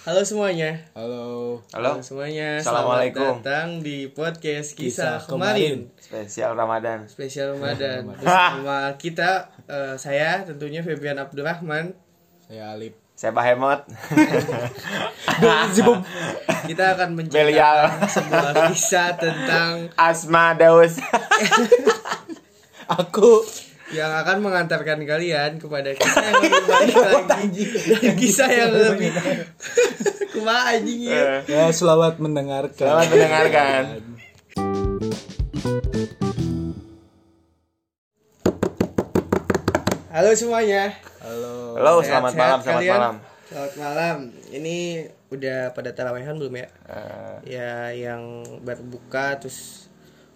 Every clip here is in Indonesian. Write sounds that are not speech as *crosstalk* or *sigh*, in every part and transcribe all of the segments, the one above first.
Halo semuanya. Halo. Halo Halo, semuanya. Assalamualaikum. Selamat datang di podcast Kisah kisah, Kemarin. kemarin. spesial Ramadan. Spesial Ramadan *laughs* bersama kita eh, saya tentunya Febian Abdurrahman. Saya Ya, Alip. Saya Pak Hemot. Kita akan menceritakan *laughs* *laughs* Belial sebuah *laughs* kisah tentang Asma *laughs* Daus. Aku yang akan mengantarkan kalian *laughs* kepada kisah yang lebih baik lagi dan kisah yang lebih *laughs* kumaha anjing ya. Eh, ya selamat mendengarkan. Selamat mendengarkan. Halo semuanya. Halo. Halo, selamat Sehat-sehat malam, selamat kalian? malam. Selamat malam. Ini udah pada tarawehan belum ya? Eh, ya yang berbuka terus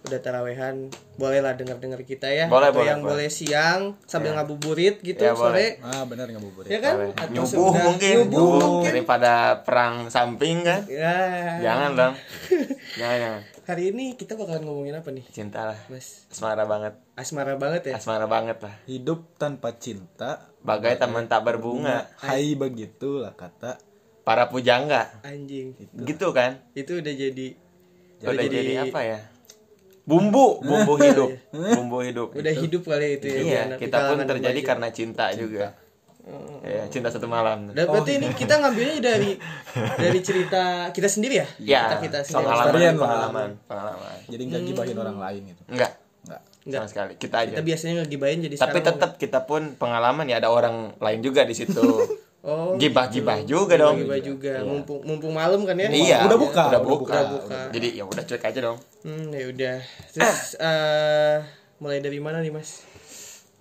udah tarawehan bolehlah dengar dengar kita ya Boleh, atau boleh, yang boleh, boleh. siang sambil ngabuburit gitu Ya, sore Ah benar nggak buburit. ya kan Atau Nyuguh sekedar- mungkin. nyuguh Nyuguh. mungkin. Daripada perang samping kan. ya Jangan *laughs* dong. Jangan, jangan. hari ini kita bakalan ngomongin apa nih Cinta lah. mas Asmara banget. asmara banget ya Asmara banget lah. Hidup tanpa cinta, Bagai teman tak berbunga. Eh. hai begitulah kata. Para pujangga. anjing Gitu kan. itu udah jadi Udah jadi- jadi apa ya? Bumbu, bumbu hidup, bumbu hidup. *laughs* udah hidup kali itu ya di Iya, anak- di kita pun kalangan terjadi remaja. karena cinta, juga. Iya, cinta satu malam. dan berarti ini kita ngambilnya dari *laughs* dari cerita kita sendiri ya Ya, cerita kita sendiri pengalaman, Sekalian, pengalaman, pengalaman, Jadi nggak gibahin orang Hmm. lain gitu. Enggak, Enggak. sama sekali. Kita aja. kita biasanya ngegibahin jadi Tapi sekarang- tetap kita pun pengalaman ya ada orang lain juga di situ. *laughs* oh Gibah-gibah juga dong. tiba Iya, juga mumpung mumpung malam kan ya Iya. Udah buka, Udah udah buka. buka. Jadi ya udah cuek aja dong. hmm ya udah terus eh mulai dari mana nih mas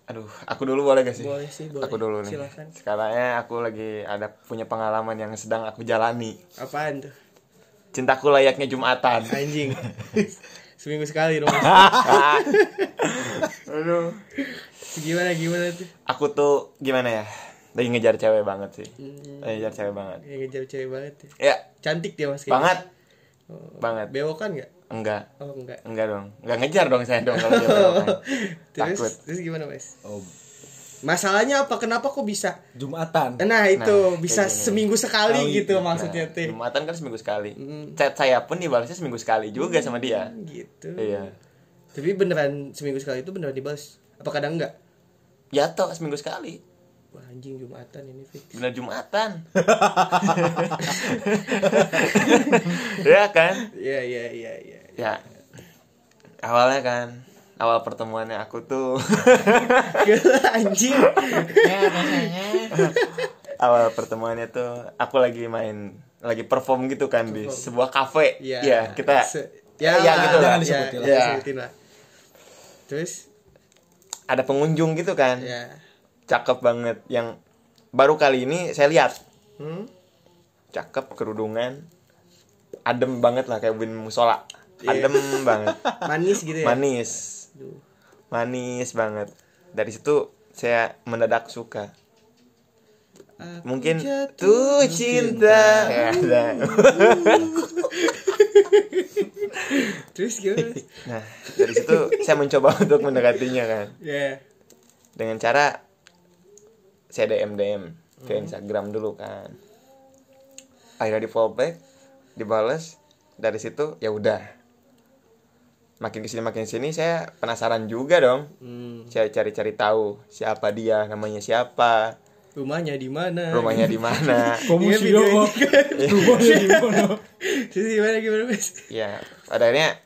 Aduh, aku dulu boleh gak sih? Boleh sih, boleh. Aku dulu nih. Silakan. Sekarangnya aku lagi ada punya pengalaman yang sedang aku jalani. apaan tuh Cintaku layaknya Jumatan. anjing *laughs* seminggu sekali dong Mas. Aduh. gimana gimana tuh Aku tuh gimana ya? Lagi ngejar cewek banget sih. Lagi ngejar cewek banget. ya ngejar cewek banget ya. Ya, cantik dia mas banget. Oh. Banget. bewokan nggak Enggak. oh *laughs* enggak Enggak dong, enggak ngejar dong saya dong kalau dia belokan. terus Takut. terus gimana mas Om. masalahnya apa kenapa kok bisa *laughs* Jumatan. nah itu Nah, bisa kayak gini. Nah, seminggu sekali Oh, gitu iya. maksudnya teh Jumatan kan seminggu sekali. Mm. Chat saya pun dibalasnya seminggu sekali juga sama dia. gitu Iya. tapi beneran seminggu sekali itu beneran dibales apa kadang enggak Jatuh seminggu sekali. Wah, anjing Jumatan ini Fit. Bener Jumatan. *laughs* ya kan? Iya iya iya iya. *laughs* Ya. Awalnya kan awal pertemuannya aku tuh Gila, anjing. *laughs* awal pertemuannya tuh aku lagi main lagi perform gitu kan di sebuah kafe Iya. Iya, kita Se- ya, lah, gitu lah. jangan ya, disebutin lah. ya, disebutin lah. Terus ada pengunjung gitu kan ya. cakep banget yang baru kali ini saya lihat Hmm? cakep kerudungan adem banget lah kayak Win Musola Iya. adem *laughs* banget Manis gitu ya. manis Aduh. manis banget dari situ saya mendadak suka Aku mungkin jatuh. tuh cinta Ya, udah. Terus gimana? *laughs* nah dari situ saya mencoba *laughs* untuk mendekatinya kan ya. dengan cara saya DM DM ke Instagram dulu kan akhirnya di follow back dibales dari situ ya udah makin kesini makin sini saya penasaran juga dong Hmm, saya cari-cari tahu siapa dia namanya siapa rumahnya di mana? *laughs* rumahnya di mana Kamu Iya, sih video dong. ini *laughs* Kamu sih dong. Terus gimana gimana, Mas? ya pada akhirnya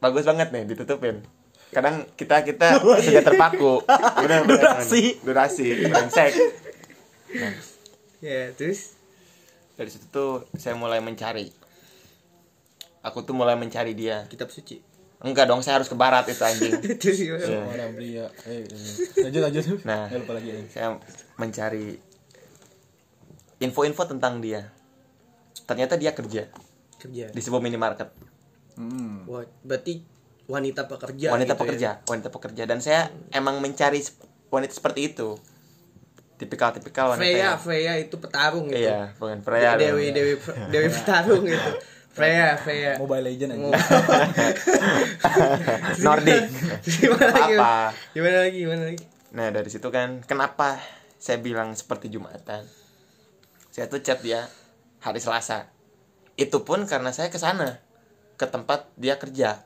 bagus banget nih ditutupin kadang kita kita sudah terpaku Bener, bener, Durasi. bener. durasi brengsek Ya, terus dari situ tuh saya mulai mencari aku tuh mulai mencari dia kitab suci. *laughs* enggak dong saya harus ke barat itu anjing Terus gimana? Iya. Orang pria. Eh, eh. lanjut lanjut. Nah. Ya, lupa lagi. eh. saya mencari info-info tentang dia ternyata dia kerja Kerja. di sebuah minimarket Hmm. Wah, berarti wanita pekerja wanita gitu ya? pekerja wanita pekerja dan saya emang mencari sep- wanita seperti itu tipikal-tipikal wanita Freya, yang- Freya itu petarung gitu. iya bukan Freya iya. dong. Dewi, Dewi, Dewi petarung *laughs* gitu. Freya, Freya. Mobile Legend aja. Hmm. Nordic *laughs* gimana lagi? Apa? Gimana lagi? Gimana lagi? Nah dari situ kan kenapa saya bilang seperti Jumatan Saya tuh chat dia hari Selasa itu pun karena saya ke sana ke tempat dia kerja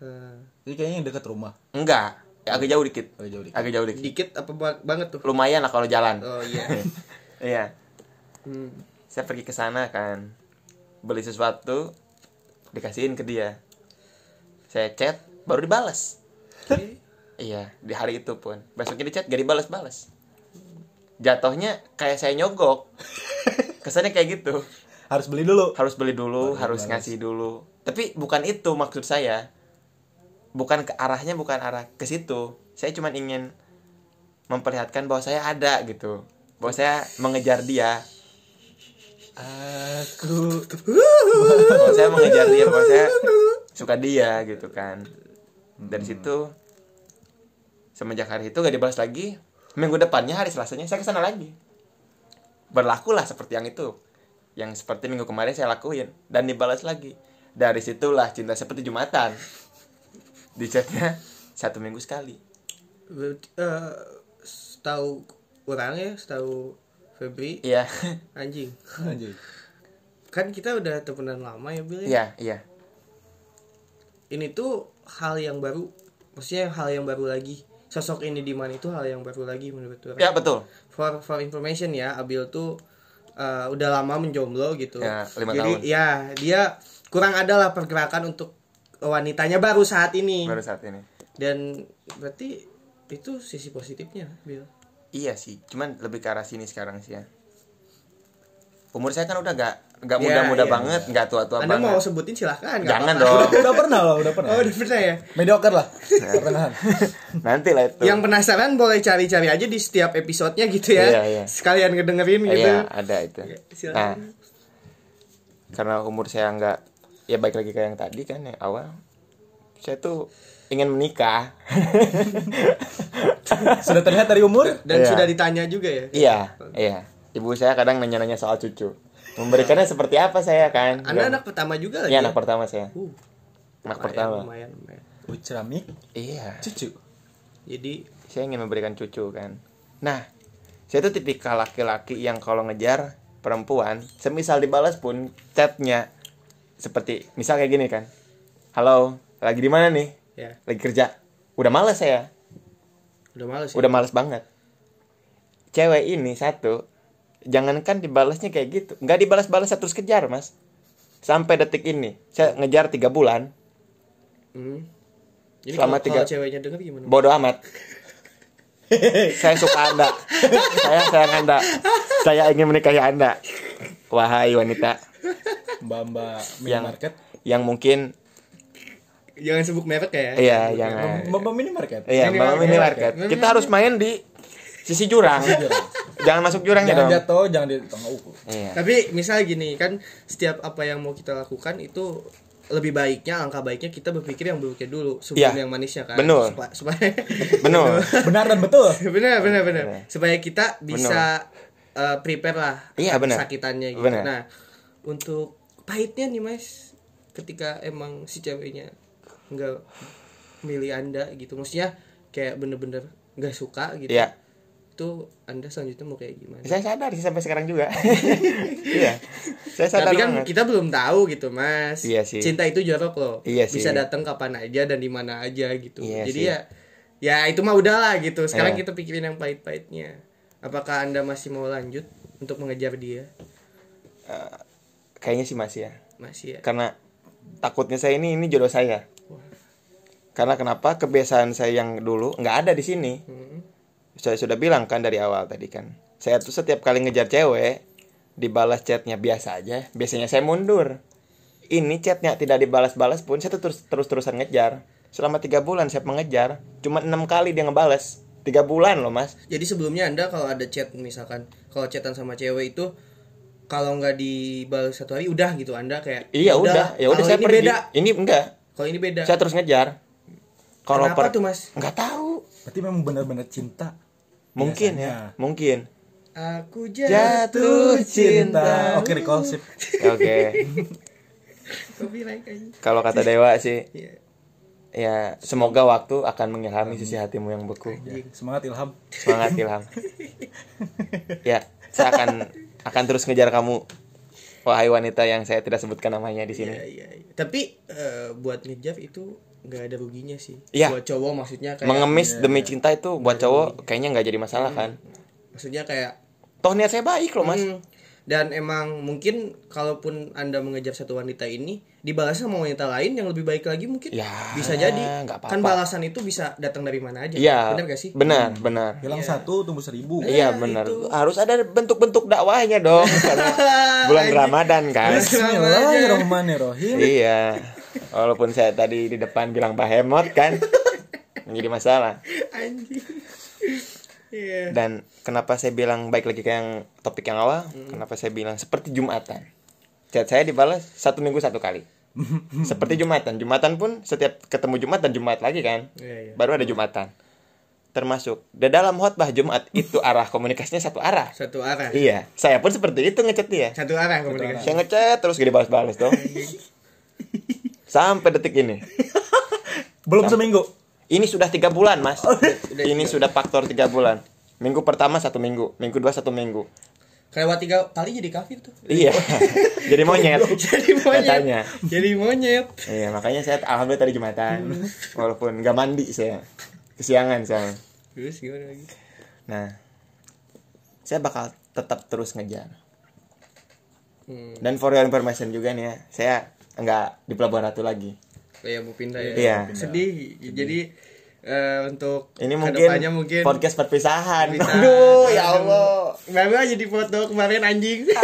Eh, Jadi kayaknya yang dekat rumah. enggak ya, agak jauh dikit Agak jauh dikit. agak jauh dikit dikit apa ba- banget tuh lumayan lah kalau jalan oh iya *laughs* iya Hmm. saya pergi ke sana kan beli sesuatu dikasihin ke dia saya chat baru dibalas Oke. Iya, di hari itu pun. Besoknya di chat gak dibalas-balas. Jatuhnya kayak saya nyogok. Kesannya kayak gitu. Harus beli dulu. Harus beli dulu, Baru harus dibalas. ngasih dulu. Tapi bukan itu maksud saya. Bukan ke arahnya bukan arah ke situ. Saya cuma ingin memperlihatkan bahwa saya ada gitu. Bahwa saya mengejar dia. Aku Bahwa saya mengejar dia, bahwa saya suka dia gitu kan. Dari situ semenjak hari itu gak dibalas lagi. Minggu depannya hari Selasanya saya kesana lagi. Berlakulah seperti yang itu. Yang seperti minggu kemarin saya lakuin dan dibalas lagi. Dari situlah cinta seperti jumatan. Di chatnya satu minggu sekali. Berarti, eh, setahu orang ya setahu Febri Iya. anjing anjing. kan kita udah temenan lama ya Bil ya? Iya, iya. ini tuh hal yang baru maksudnya hal yang baru lagi sosok ini di mana itu hal yang baru lagi menurut orang Ya betul. for for information ya Abil tuh uh, udah lama menjomblo gitu Ya, lima jadi tahun. ya dia kurang adalah pergerakan untuk wanitanya baru saat ini Baru saat ini. dan berarti itu sisi positifnya Bil Iya sih, cuman lebih ke arah sini sekarang sih ya. Umur saya kan udah gak Iya, gak muda-muda iya. banget, gak tua-tua Anda mau banget. sebutin silahkan nggak Jangan apa-apa. dong. Udah pernah lah, udah pernah. *laughs* oh udah pernah ya Mediocre lah. Nah. Pertengahan. Nanti lah itu. yang penasaran boleh cari-cari aja di setiap episodenya gitu ya Iya, iya. sekalian ngedengerin gitu Iya, ada itu. Iya, Nah, silakan. karena umur saya nggak ya baik lagi kayak yang tadi kan yang awal. Saya tuh ingin menikah. *laughs* Sudah terlihat dari umur? dan Iya. sudah ditanya juga ya iya, iya. Ibu saya kadang nanya-nanya soal cucu. Memberikannya seperti apa saya kan? Anda Dan- anak pertama juga lagi Iya, anak pertama saya. Uh, Anak lumayan, pertama. lumayan, lumayan. Ucramik Iya. cucu. jadi saya ingin memberikan cucu kan nah saya tuh tipikal laki-laki yang kalau ngejar perempuan semisal dibalas pun chatnya seperti misal kayak gini kan halo lagi di mana nih ya lagi kerja udah males saya udah males ya. udah males banget cewek ini satu jangankan dibalasnya kayak gitu nggak dibalas-balas saya terus kejar mas sampai detik ini saya ngejar tiga bulan Hmm. Jadi Selama kalau, kalau tiga- ceweknya denger gimana? bodoh amat saya suka anda saya sayang anda saya ingin menikahi anda wahai wanita Mbak-mbak yang minimarket. yang mungkin Jangan sebut merek ya. iya yang Mbak-mbak minimarket. iya Minimarket. malam minimarket kita harus main di sisi jurang jangan masuk jurangnya Jangan dong jatuh, jangan di tengah ukur. iya Tapi misalnya gini kan setiap apa yang mau kita lakukan itu lebih baiknya langkah baiknya kita berpikir yang buruknya dulu sebelum Iya. yang manisnya kan. Benar. Supa- Supaya *laughs* benar Benar dan betul. benar benar benar. Supaya kita bisa eh, prepare lah Iya, benar. sakitannya gitu. Benar. Nah, untuk pahitnya nih Mas ketika emang si ceweknya nggak milih Anda gitu. Maksudnya kayak bener-bener nggak suka gitu. iya itu anda selanjutnya mau kayak gimana? saya sadar sih sampai sekarang juga *laughs* iya saya sadar Tapi kan banget kita belum tahu gitu mas. Iya sih. Cinta itu jorok loh. Iya sih. Bisa datang kapan aja dan di mana aja gitu. Iya Jadi sih. ya, ya itu mah udahlah gitu. Sekarang Iya. kita pikirin yang pahit-pahitnya. Apakah anda masih mau lanjut untuk mengejar dia? kayaknya sih masih ya Masih ya. karena takutnya saya ini ini jodoh saya karena kenapa kebiasaan saya yang dulu nggak ada di sini Hmm. saya sudah bilang kan dari awal tadi kan saya tuh setiap kali ngejar cewek dibalas chatnya biasa aja biasanya saya mundur ini chatnya tidak dibalas-balas pun saya tuh terus terus terusan ngejar selama tiga bulan saya mengejar cuma enam kali dia ngebalas tiga bulan loh mas Jadi sebelumnya anda kalau ada chat misalkan kalau chatan sama cewek itu kalau nggak dibalas satu hari udah gitu anda kayak iya udah ya kalau udah Nah, saya ini pergi beda ini enggak kalau ini beda saya terus ngejar kalau Kenapa tuh, Mas? nggak tahu Berarti memang benar-benar cinta. mungkin ya Biasanya. mungkin aku jatuh jatuh cinta. Oke, recall sip. *laughs* Oke. Kopi naik aja. Kalau kata Dewa sih, Iya. ya semoga waktu akan mengilhami sisi hatimu yang beku. Iya. Ya, semangat Ilham. Semangat Ilham. ya, saya akan akan terus ngejar kamu wahai wanita yang saya tidak sebutkan namanya di sini Iya, iya, iya. Tapi eh, buat ngejar itu nggak ada ruginya sih. Iya. Buat cowok maksudnya kayak mengemis demi cinta itu Iya. buat cowok kayaknya nggak jadi masalah kan maksudnya kayak toh niat saya baik loh mas Iya. Hmm. Dan emang mungkin kalaupun Anda mengejar satu wanita ini dibalas sama wanita lain yang lebih baik lagi mungkin Ya, bisa jadi. nggak apa-apa. Kan balasan itu bisa datang dari mana aja. iya Benar gak sih? Hmm. Ya, benar benar hilang satu tumbuh seribu Iya benar. Harus ada bentuk-bentuk dakwahnya dong karena *laughs* bulan Ramadan kan. Bismillahirrahmanirrahim iya. Walaupun saya tadi di depan bilang Pak Hemot kan menjadi masalah. *laughs* Anjing. Iya. Dan kenapa saya bilang baik lagi ke yang topik yang awal? Hmm. Kenapa saya bilang seperti Jumatan? Chat saya dibalas satu minggu satu *laughs* kali. seperti Jumatan. Jumatan pun setiap ketemu Jumat dan Jumat lagi kan. Iya, iya. Baru ada Jumatan. Termasuk di dalam khotbah Jumat itu arah komunikasinya satu arah. Satu arah. Iya, saya pun seperti itu ngechat dia. Satu arah komunikasi. Saya ngechat terus gak dibalas-balas dong. Iya. Sampai detik ini. belum seminggu Ini sudah tiga bulan, Mas. Oh, iya. Ini sudah faktor tiga bulan. Minggu pertama satu minggu, minggu dua satu minggu. Kelewat tiga kali jadi kafir tuh. Iya. Jadi monyet. *laughs* Jadi monyet. Katanya. Jadi monyet. Iya, makanya saya alhamdulillah tadi Jumatan. Walaupun gak mandi saya. Kesiangan saya. Terus gimana lagi? Nah, saya bakal tetap terus ngejar. Hmm. Dan for your information juga nih ya, saya nggak di Pelabuhan Ratu lagi. Kayak mau pindah ya. Iya. Sedih. Jadi eh, untuk Ini kedepannya mungkin mungkin, podcast perpisahan. Bisa. Aduh, ya Allah. Baru aja di foto kemarin anjing. Ah.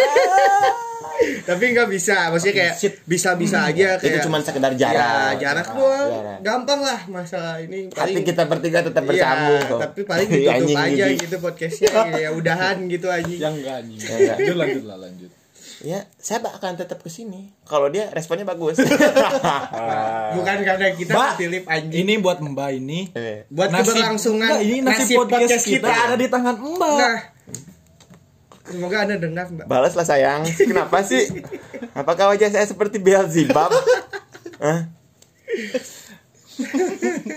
*laughs* Tapi nggak bisa, maksudnya kayak bisa-bisa aja Hmm. Itu kayak cuma sekedar jarak. Ya, Iya. jarak doang. jarak. Gampang lah masalah ini. Hati kita bertiga Iya, tetap bersambung. kok. tapi paling *laughs* Iya, ditutup anjing aja gigi. gitu *laughs* podcastnya gitu ya udahan gitu anjing. yang enggak anjing Ya, enggak. lanjut lanjut lah lanjut Ya, saya akan tetap ke sini. Kalau dia responnya *laughs* bagus. Bukan karena kita Mbak, Philip anjing. ini buat Mbak ini Iya. Buat keberlangsungan Mbak, ini nasib, podcast, kita, ada di tangan Mbak. Nah, semoga Anda dengar, Mbak. Balaslah sayang. *laughs* Kenapa sih? Apakah wajah saya seperti Beelzebub? Hah?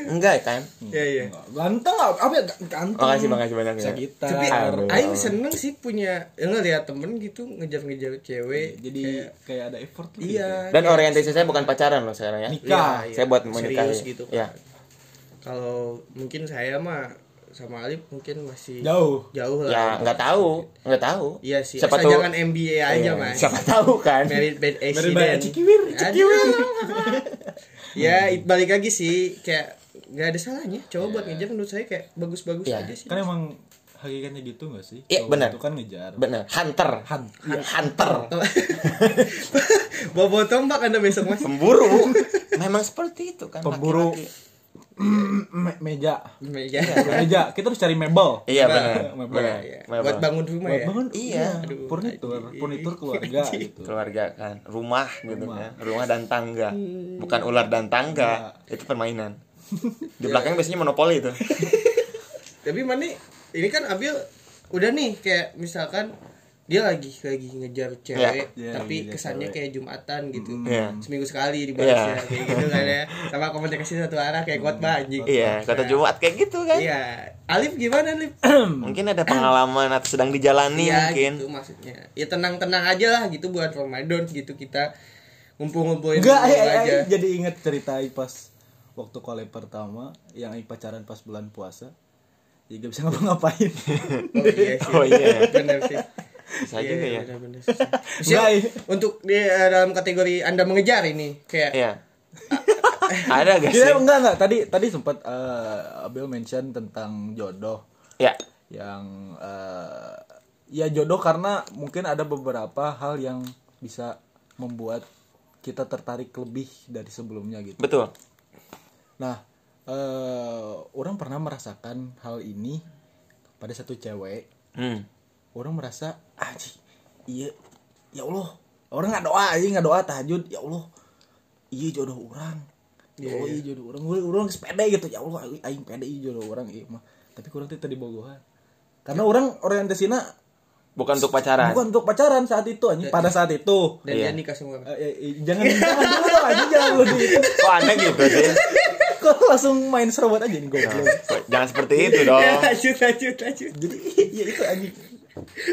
Enggak kan? Iya, iya. Ganteng apa ya? Ganteng. Makasih, makasih banyak. ya. Sekitar. Tapi Aduh. Aing seneng sih punya ya ngeliat temen gitu ngejar-ngejar cewek. Jadi kayak- kayak ada effort gitu. iya. Dan orientasi saya bukan pacaran loh sekarang ya. Nikah. Iya, Saya buat menikah. serius gitu. Ya. Kan. Kalau mungkin saya mah sama Alif mungkin masih Jauh. jauh lah. ya nggak tahu nggak tahu Iya sih. siapa Siapa tahu jangan MBA aja, Iya, Mas. siapa tahu kan Merit bad accident. Merit by cikiwir, Aduh. ya, it- balik lagi sih kayak nggak ada salahnya. Coba buat ngejar menurut saya kayak bagus-bagus Iya. aja sih. Kan emang hakikatnya gitu gak sih? Iya, Cowok benar. Itu kan ngejar. bener hunter Han. Iya, hunter *laughs* Bobo tombak Anda besok, *laughs* Mas. pemburu memang seperti itu kan Pemburu. laki-laki. Me- meja. Iya. meja. Kita harus cari mebel. iya benar Mebel. benar Iya. Memang. Buat bangun rumah Buat ya. bangun Iya. Aduh, Furnitur, anjing. furnitur *laughs* keluarga gitu. keluarga kan rumah gitu ya rumah dan tangga bukan ular dan tangga itu permainan di belakang biasanya monopoli itu Tapi mana ini kan Abil udah nih kayak misalkan dia lagi lagi ngejar Ya. cewek Iya, tapi ngejar kesannya cewek. kayak jumatan gitu Iya. seminggu sekali dibalas Iya. ya, kayak gitu kan ya sama komunikasi satu arah kayak khotbah anjing iya kata jumat kayak gitu kan iya Alif gimana Alif mungkin ada pengalaman atau sedang Iya dijalani mungkin gitu maksudnya ya tenang-tenang aja lah gitu buat Ramadan gitu kita ngumpul-ngumpulin dulu Enggak, eh, eh, eh, jadi inget cerita Aing pas waktu kole pertama yang Aing pacaran pas bulan puasa. Ya gak bisa *laughs* ngapa-ngapain. oh iya sih oh iya bener sih Iya, bisa juga ya bener-bener sih. Enggak, Siap, iya. untuk di eh, dalam kategori anda mengejar ini kayak iya *laughs* ada gak sih Iya, enggak enggak. Tadi tadi sempat eh, Abel mention tentang jodoh ya yang eh, ya jodoh karena mungkin ada beberapa hal yang bisa membuat kita tertarik lebih dari sebelumnya gitu. betul Nah, eh, orang pernah merasakan hal ini pada satu cewek. Hmm. Orang merasa aji, iya, ya Allah. Orang nggak doa aja nggak doa tahajud, ya Allah. Iya jodoh orang. Ya Allah, iya jodoh orang. Orang, orang sepeda gitu, ya Allah, aing- aing pede iya jodoh orang iya mah. Tapi kurang teh tadi bogohan. Karena orang orientasinya Bukan untuk pacaran. bukan untuk pacaran saat itu anjing, pada saat itu. dan Iya. dia nikah semua Eh, eh, eh, jangan jangan dulu dong anjing, jangan dulu di itu. Kok Anda gitu sih? Kok langsung main serobot aja nih goblok. Iya. Jangan seperti itu dong. lanjut lanjut lanjut jadi ya itu anjing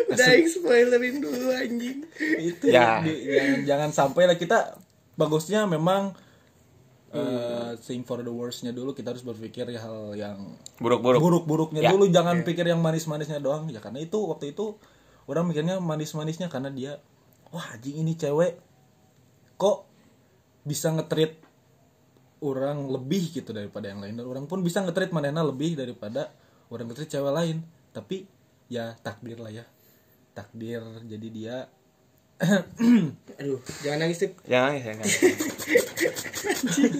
udah spoilerin dulu anjing itu Ya. di- jangan jangan sampai lah kita bagusnya memang eh think for the worstnya dulu kita harus berpikir hal yang buruk-buruk buruk-buruknya Ya. dulu jangan pikir yang manis-manisnya doang ya karena itu waktu itu orang mikirnya manis-manisnya karena dia wah anjing ini cewek kok bisa ngetrit orang lebih gitu daripada yang lain dan orang pun bisa ngetrit manena lebih daripada orang ngetrit cewek lain tapi ya takdir lah ya takdir jadi dia *clears throat* aduh jangan nangis tuh jangan ya jangan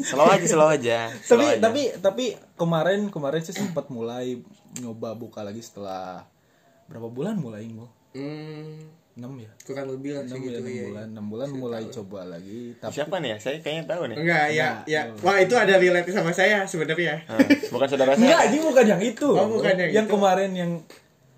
slow aja slow aja slow tapi aja. tapi tapi kemarin kemarin sih sempat mulai nyoba buka lagi setelah berapa bulan mulai Ngul? hmm, 6 ya kurang lebih lah enam segitu bulan, enam ya bulan, enam bulan mulai coba lagi. Tapi siapa nih ya saya kayaknya tahu nih enggak ya ya wah itu ada relate sama saya sebenarnya Ah, bukan saudara saya enggak, ini bukan yang itu. Oh, bukan yang itu. kemarin yang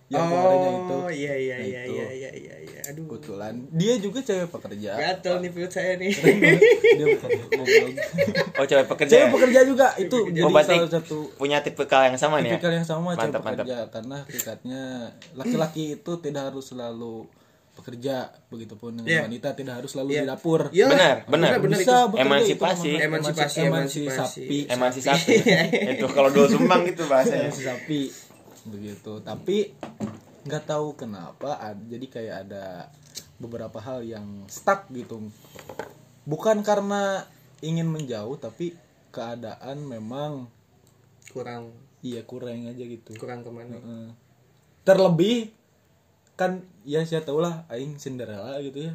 yang kemarin yang itu. oh iya iya Nah, iya itu. iya iya iya iya. aduh Kebetulan dia juga cewek pekerja. gatel nih perut saya nih dia bukan- goblok. oh cewek pekerja cewek ya? pekerja juga itu jadi oh, berarti salah satu punya tipikal yang sama nih ya tipikal yang sama cewek Mantap, mantap. pekerja karena hakikatnya laki-laki itu tidak harus selalu bekerja begitupun dengan Iya. wanita tidak harus selalu Iya. di dapur. Iya lah. Benar, benar. benar Bisa itu. bekerja Emansipasi. itu namanya. Emansipasi, emansi emansipasi. sapi. emang si sapi Iya, itu kalau dua sumbang gitu bahasanya Emansi sapi begitu. Tapi nggak tahu kenapa ad- jadi kayak ada beberapa hal yang stuck gitu. Bukan karena ingin menjauh tapi keadaan memang kurang iya kurang aja gitu. kurang kemana Heeh. terlebih kan ya saya tahu lah aing Cinderella gitu ya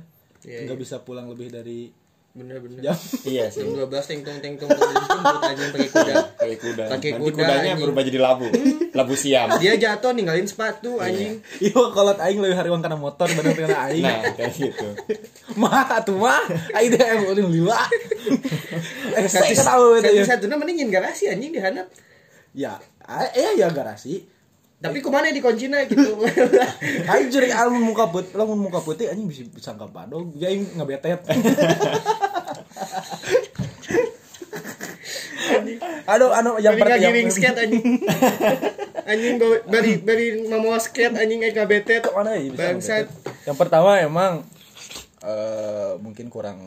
Iya, nggak bisa pulang lebih dari bener bener jam *laughs* iya jam sih 12 teng tong teng tong jemput anjing pakai kuda pakai kuda Pakai nanti kuda, kudanya anjing. berubah jadi labu labu siam dia jatuh ninggalin sepatu anjing iya kalau aing lebih hari karena motor bener karena Iya. aing nah kayak gitu *laughs* mah tuh mah aing teh yang udah lila eh saya kasih tahu itu iya. satu ya satu mendingin garasi anjing dihanap ya a- eh ya garasi tapi Iya. kemana di kuncinya *laughs* gitu aing jering *laughs* alun muka putih lamun muka putih anjing bisa bisa nggak pado ya aing *laughs* ngebetet aduh aduh yang yang per- pernah yang- giring skate *laughs* anjing anjing bawa- bari bari mau skate anjing LGBT Mana ya bisa bangsat ngebetet? Yang pertama emang eh mungkin kurang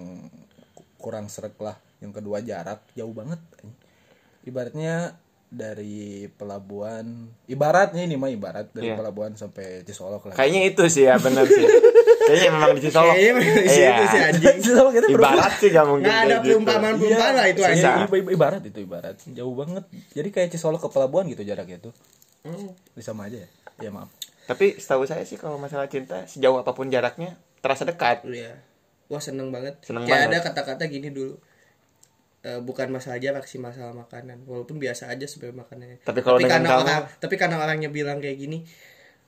kurang srek lah. Yang kedua jarak jauh banget. Ibaratnya dari pelabuhan ibaratnya ini mah ibarat dari Iya. pelabuhan sampai Cisolok lah. kayaknya itu sih ya benar sih kayaknya memang di Cisolok kayaknya memang di situ sih anjing *laughs* Cisolok itu ibarat sih nggak mungkin nggak ada kayak gitu. perumpamaan perumpamaan lah itu Iya, anjing i- i- ibarat itu ibarat. Jauh banget. Jadi kayak Cisolok ke pelabuhan gitu jaraknya tuh. Hmm. Sama aja ya. Ya maaf. tapi setahu saya sih kalau masalah cinta sejauh apapun jaraknya terasa dekat Iya. Wah seneng banget. Seneng Kayak banget. ada kata-kata gini dulu. E, bukan masalah jarak sih masalah makanan. Walaupun biasa aja sebenarnya makanannya. Tapi kalau dengan karena kamu- orang, tapi karena orangnya bilang kayak gini,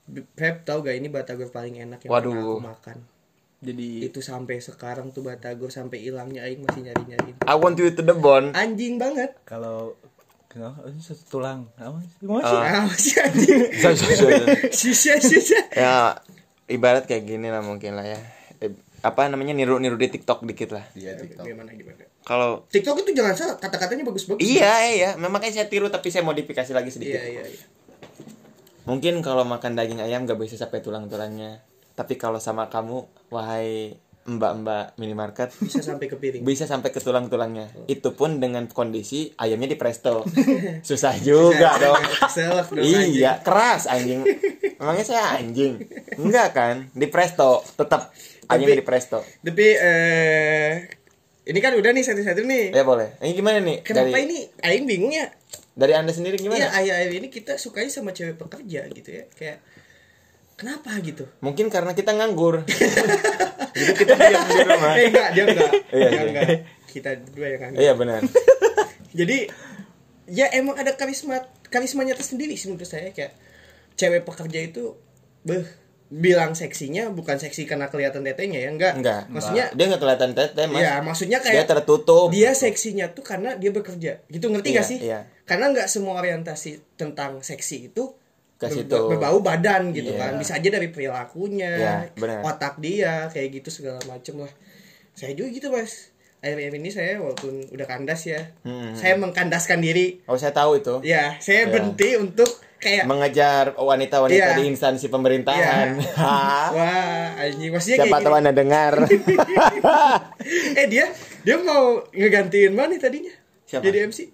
"B- Pep tau gak ini batagor paling enak yang Waduh. pernah aku makan. Iya. Jadi Itu sampai sekarang tuh batagor sampai hilangnya aing masih nyari-nyariin. I want you to the *laughs* bone Anjing banget. kalau kenapa ini satu tulang. Apa Eh, sih? Gimana sih? Ah, masih *laughs* anjing. So, so, so, so. Sisa sisa. ya ibarat kayak gini lah mungkin lah ya Eh, apa namanya niru-niru di Ya, TikTok dikit lah Iya, TikTok. Gimana gimana. kalau TikTok itu jangan salah kata-katanya bagus-bagus. iya iya memang kayak saya tiru tapi saya modifikasi lagi sedikit Iya iya. iya. Mungkin kalau makan daging ayam gak bisa sampai tulang-tulangnya. Tapi kalau sama kamu, wahai mbak-mbak minimarket, Bisa sampai ke piring. bisa sampai ke tulang-tulangnya. Oh. Itu pun dengan kondisi ayamnya di *laughs* presto. Susah juga dong. Selak Iya, dong anjing. iya, keras anjing. Emangnya saya anjing? Enggak kan? Di presto, tetap ayamnya di presto. Tapi eh ini kan udah nih satu-satu nih. Ya boleh. Ini gimana nih? Kenapa dari, ini aing bingung ya? Dari Anda sendiri Iya, gimana? akhir-akhir ini kita sukanya sama cewek pekerja gitu ya. Kayak kenapa gitu? Mungkin karena kita *laughs* nganggur. Jadi kita diam di rumah. Eh enggak, dia enggak. Iya, dia iya. enggak. Kita ya kan? dua yang aneh. Iya benar. Jadi ya emang ada karisma karismanya tersendiri sih menurut saya kayak cewek pekerja itu beh bilang seksinya bukan seksi karena kelihatan tetenya ya enggak. Enggak. Maksudnya Dia nggak kelihatan tete, Mas. Iya, maksudnya kayak Dia tertutup. Dia seksinya tuh karena dia bekerja. Gitu ngerti Iya, gak sih? iya. Karena nggak semua orientasi tentang seksi itu Ke ber- situ. berbau badan gitu kan. Iya. Bisa aja dari perilakunya, Iya, benar. otak dia kayak gitu segala macem lah. Saya juga gitu, Mas. Akhir-akhir ini saya Hmm. walaupun udah kandas ya, saya mengkandaskan diri. Oh saya tahu itu. Ya, saya Iya. berhenti untuk kayak mengejar wanita-wanita Iya. di instansi pemerintahan. *laughs* wah anjing maksudnya Siapa kayak tahu gini. anda dengar. *laughs* eh dia dia mau ngegantiin mana tadinya Siapa? jadi MC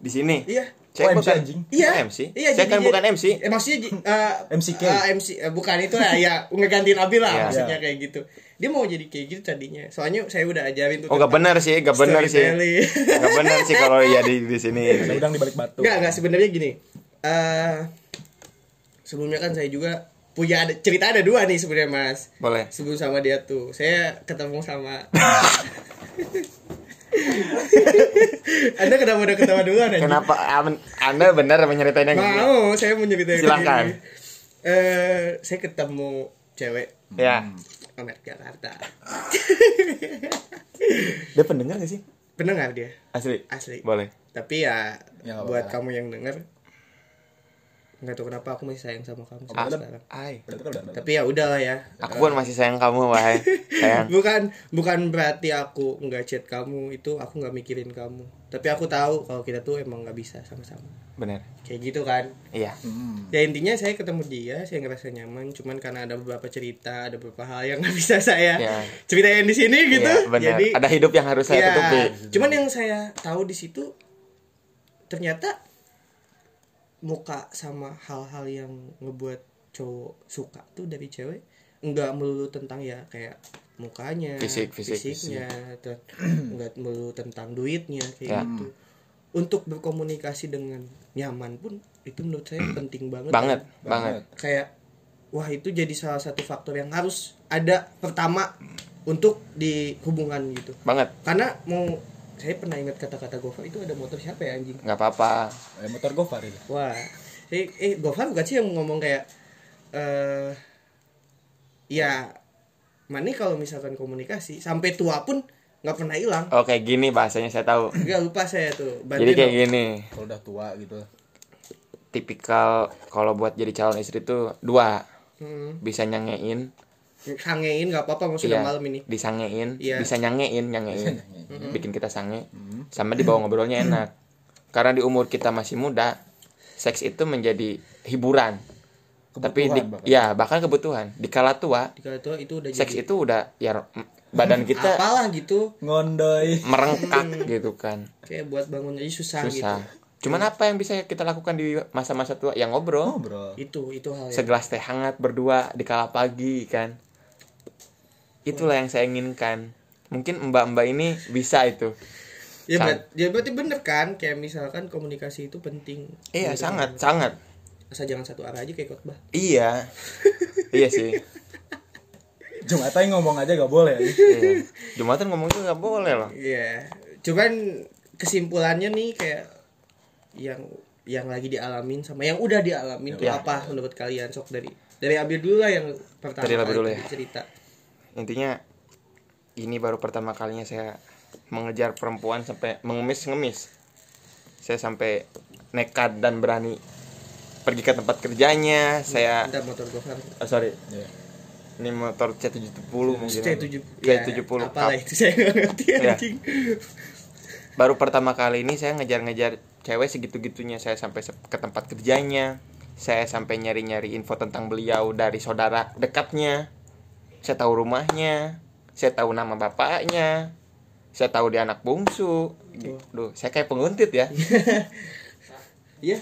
di sini. iya Saya Oh, MC, bukan anjing. Iya. Iya, MC. Iya, saya jadi kan dia- bukan MC. Eh, maksudnya *laughs* j- eh, MCK. eh, MC eh, bukan itu lah ya ngegantiin Abi lah Iya. maksudnya Iya. kayak gitu. Dia mau jadi kayak gitu tadinya. Soalnya saya udah ajarin tuh. Oh gak benar sih, gak benar sih. Storytelling. Gak benar sih kalau ya di di sini. Ada udang di balik batu. Enggak, enggak sebenarnya gini. Eh sebelumnya kan saya juga punya ada, cerita ada dua nih sebenarnya Mas. Boleh. Sebelum sama dia tuh, saya ketemu *laughs* sama Anda kenapa udah ketawa duluan anjing? Kenapa am- Anda benar menceritainnya gak? benar? Mau, saya mau nyeritain Silakan. ini. Eh, saya ketemu cewek Ya. anak Jakarta. Dia pendengar gak sih? Pendengar dia, Asli. asli. Boleh. Tapi ya, Ya, nggak buat apa-apa. kamu yang denger nggak tahu kenapa aku masih sayang sama kamu sampai Ah, sekarang. Ai. kan Tapi ya udah lah ya. Aku pun masih sayang kamu, wahai. Sayang. Bukan bukan berarti aku nggak chat kamu itu aku nggak mikirin kamu. Tapi aku tahu kalau kita tuh emang nggak bisa sama-sama. Benar. Kayak gitu kan. Iya. Hmm, Ya intinya saya ketemu dia, saya ngerasa nyaman. Cuman karena ada beberapa cerita, ada beberapa hal yang *laughs* nggak bisa saya Ya. ceritain di sini gitu. Iya, benar. Jadi Ada hidup yang harus saya ya, tutupi. Cuman yang saya tahu di situ ternyata muka sama hal-hal yang ngebuat cowok suka tuh dari cewek nggak melulu tentang ya kayak mukanya, Fisik, fisik, fisiknya, dan *clears throat* nggak melulu tentang duitnya kayak Ya. gitu. Untuk berkomunikasi dengan nyaman pun itu menurut saya penting banget. Hmm. Banget, banget. Kayak wah itu jadi salah satu faktor yang harus ada pertama untuk di hubungan gitu Banget. karena mau saya pernah ingat kata-kata Gofar itu ada motor siapa ya anjing Gak apa-apa. Eh, motor Gofar itu. wah eh, eh Gofar bukan sih yang ngomong kayak eh ya mana kalau misalkan komunikasi sampai tua pun nggak pernah hilang Oke, gini bahasanya saya tahu. nggak lupa saya tuh Jadi Bantuin kayak dong. gini. Kalau udah tua gitu. Tipikal kalau buat jadi calon istri tuh dua. Hmm, Bisa nyangein. sangein nggak apa-apa mau sudah Iya. malam ini Disangein. Iya. Hmm. Bisa nyangein, *laughs* nyangein. Bikin kita sange. Sama dibawa ngobrolnya enak. Karena di umur kita masih muda, seks itu menjadi hiburan. Tapi di, Kebutuhan bahkan. ya bahkan kebutuhan. Di kala tua, jika tua itu udah seks jadi itu udah ya badan kita apalah gitu Ngondoy. merengkak gitu kan. kayak buat bangun aja susah, gitu." Susah. Cuman apa yang bisa kita lakukan di masa-masa tua? Ya ngobrol. Ngobrol. gitu itu itu hal yang Iya. segelas teh hangat berdua di kala pagi kan itulah yang saya inginkan mungkin mbak mbak ini bisa itu ya, Sang- ber- ya berarti bener kan kayak misalkan komunikasi itu penting iya Gitu. sangat sangat asal jangan satu arah aja kayak khotbah iya *laughs* iya sih Cuma tadi ngomong aja gak *laughs* boleh. ya. iya. jumatan ngomong itu nggak boleh loh Iya, cuman kesimpulannya nih kayak yang yang lagi dialamin sama yang udah dialamin tuh Ya. apa menurut kalian sok dari dari Abil dulu lah yang pertama Dari Abil kali dulu tadi ya. cerita. intinya ini baru pertama kalinya saya mengejar perempuan sampai mengemis-ngemis saya sampai nekat dan berani pergi ke tempat kerjanya saya Bentar motor kan. Gofar. oh, sorry Iya. ini motor C70 mungkin C70. C70 Apalah ya, itu saya nggak ngerti Ya. anjing. baru pertama kali ini saya ngejar-ngejar cewek segitu-gitunya saya sampai se- ke tempat kerjanya saya sampai nyari-nyari info tentang beliau dari saudara dekatnya saya tahu rumahnya saya tahu nama bapaknya saya tahu dia anak bungsu Gitu. Duh, saya kayak penguntit ya Iya.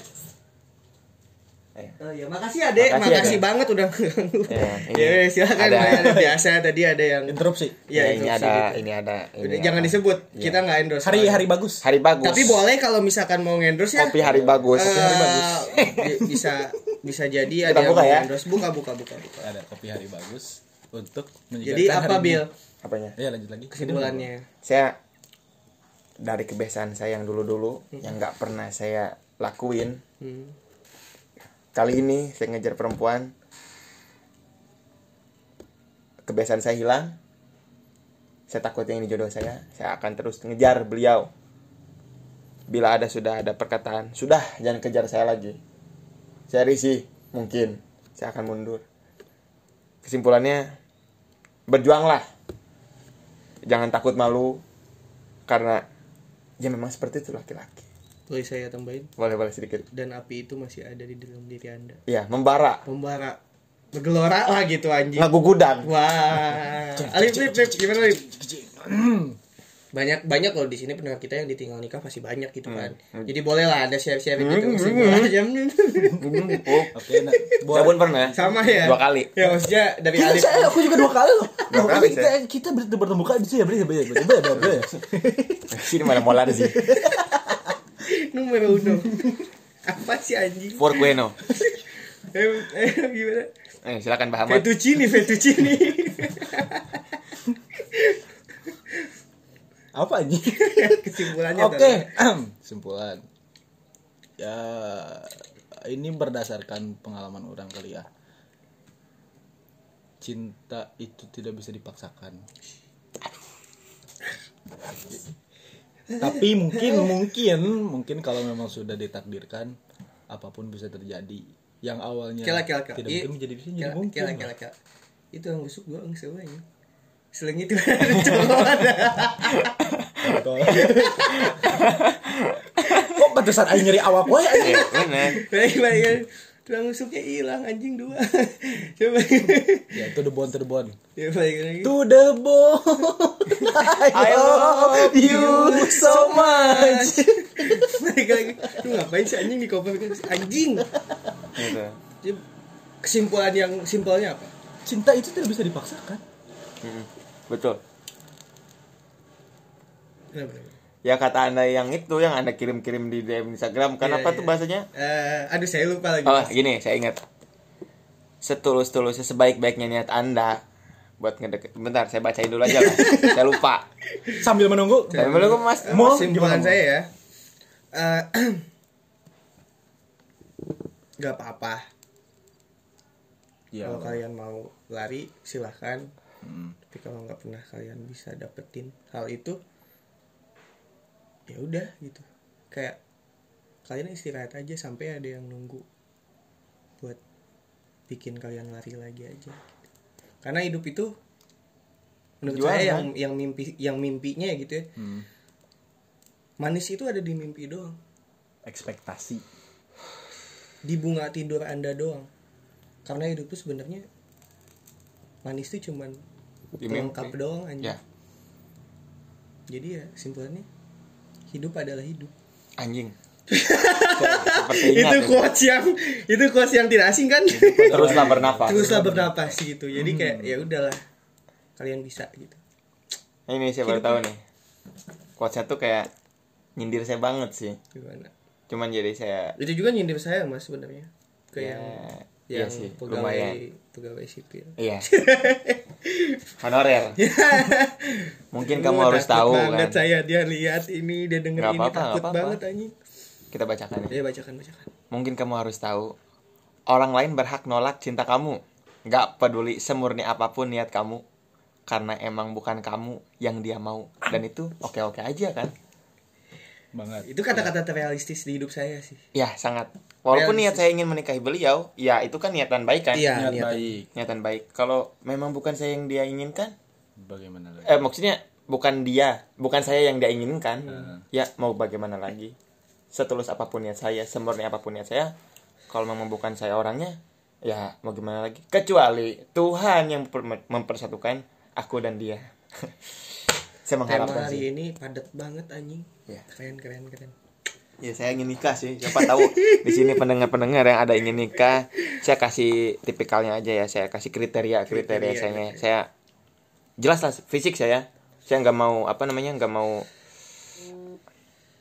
Ayo. Oh, ya, makasih Ade, Eh. Makasih, makasih, Ade. banget udah ngeganggu. Ya, ini. Ya, weh, silakan Ada- Maya. biasa tadi ada yang Interupsi. Iya, Ya, ini interupsi ada gitu. ini ada ini Udah, jangan ada. disebut, kita nggak endorse. Hari soalnya. hari bagus. hari bagus Tapi boleh kalau misalkan mau endorse ya. kopi hari bagus Eh, bagus. bi- bisa bisa jadi ada Kita yang buka ya. endorse. buka buka buka buka. Ada kopi hari bagus untuk Jadi apa Bil Eh, apanya Ya lanjut lagi. kesimpulannya? saya dari kebiasaan saya yang dulu-dulu yang nggak pernah saya lakuin Hmm. kali ini saya ngejar perempuan kebiasaan saya hilang saya takutnya ini jodoh saya saya akan terus ngejar beliau bila ada sudah ada perkataan sudah jangan kejar saya lagi saya risih mungkin saya akan mundur kesimpulannya berjuanglah jangan takut malu karena ya memang seperti itu laki-laki boleh saya tambahin boleh boleh sedikit dan api itu masih ada di dalam diri anda ya membara pembara bergelora lah gitu anjing lagu gudang wah Alif Lip Lip gimana Lip Hmm. banyak banyak loh di sini pendengar kita yang ditinggal nikah pasti banyak gitu kan Hmm, jadi boleh lah ada share share gitu Segala macam. Oke, nah, buat sabun pernah ya? sama ya dua kali ya maksudnya dari Kita, Alif Iya, *laughs* saya, aku juga dua kali loh. Dua Loh, kali, kita, kita ber- bertemu kali di sini ya, beri, beri, beri, beri, beri, *laughs* beri. sini mana molar sih nomor uno apa sih anjing Forqueno eh, eh, gimana eh silakan Pak Ahmad fettuccine fettuccine Apa anjing? *laughs* kesimpulannya Oke, *clears throat* simpulan. Ya, ini berdasarkan pengalaman orang kali ya. Cinta itu tidak bisa dipaksakan. Tapi mungkin mungkin mungkin kalau memang sudah ditakdirkan apapun bisa terjadi. Yang awalnya kela kela kela tidak Iya. mungkin menjadi bisa jadi Kela, mungkin. kela lah. kela kela itu yang busuk gua nggak semuanya seling itu *laughs* ada colongan. *laughs* Kok pantesan aing nyeri awak wae Iya. anjing? ya bener Baik, baik, baik. tulang busuknya hilang anjing dua coba Ya, to the bone, to the bone. ya balik lagi To the bone. I love you so much. balik lagi lu ngapain sih anjing di koper kan? anjing gitu Jadi, kesimpulan yang simpelnya apa Cinta itu tidak bisa dipaksakan. Mm-mm. betul Kenapa, kenapa? ya kata anda yang itu yang anda kirim-kirim di DM Instagram Iya, kenapa iya. tuh bahasanya Eh, aduh saya lupa lagi Oh, gini, saya ingat. Setulus-tulusnya sebaik-baiknya niat Anda buat ngedeket. Bentar, saya bacain dulu *laughs* aja lah. saya lupa. Sambil menunggu. Saya belum Mas. Eh, Mul, kesimpulan gimana, Mul? saya ya Eh, *clears throat* nggak apa-apa Ya. kalau kalian mau lari silahkan hmm, tapi kalau nggak pernah kalian bisa dapetin hal itu ya udah gitu kayak kalian istirahat aja sampai ada yang nunggu buat bikin kalian lari lagi aja karena hidup itu menurut saya Perjuangan. yang yang mimpi yang mimpinya ya gitu ya kan? Hmm. manis itu ada di mimpi doang Ekspektasi. di bunga tidur anda doang karena hidup tuh sebenarnya manis tuh cuman Di pelengkap mimpi. doang aja Ya. jadi ya simpulannya hidup adalah hidup *laughs* Anjing. Seperti ingat. itu ya. quotes yang itu quotes yang tidak asing kan *laughs* Teruslah bernapas. teruslah bernapas gitu jadi kayak Hmm. ya udahlah kalian bisa gitu Nah, Ini saya baru tahu nih. Quotesnya tuh kayak nyindir saya banget sih. gimana Cuman jadi saya itu juga nyindir saya mas sebenarnya ke yang iya yang sih, pegawai lumayan. pegawai sipil *laughs* Iya. Honorer. Mungkin kamu Aduh, harus takut tahu banget kan. saya dia lihat ini dia denger Nggak ini apa-apa, nggak takut apa-apa. banget anjing Kita bacakan ya. ya bacakan bacakan Mungkin kamu harus tahu, orang lain berhak nolak cinta kamu. Gak peduli semurni apapun niat kamu. Karena emang bukan kamu yang dia mau. Dan itu oke-oke aja kan? Banget. itu kata-kata terrealistis di hidup saya sih Ya, sangat. Walaupun Realistis. niat saya ingin menikahi beliau, ya itu kan niatan baik kan? iya Niat niat baik. Niatan baik. Kalau memang bukan saya yang dia inginkan, Bagaimana lagi? eh maksudnya bukan dia, bukan saya yang dia inginkan. Hmm. Ya, mau bagaimana lagi? Setulus apapun niat saya, semurni apapun niat saya, kalau memang bukan saya orangnya, ya mau gimana lagi? Kecuali Tuhan yang memper- mempersatukan aku dan dia. *laughs* saya tema mengharapkan sih. hari ini padat banget anjing Iya. keren keren keren Ya, saya ingin nikah sih. Siapa tahu di sini pendengar-pendengar yang ada ingin nikah, saya kasih tipikalnya aja ya. Saya kasih kriteria kriteria, Kriteria, saya. Saya jelas lah fisik saya. Saya nggak mau apa namanya nggak mau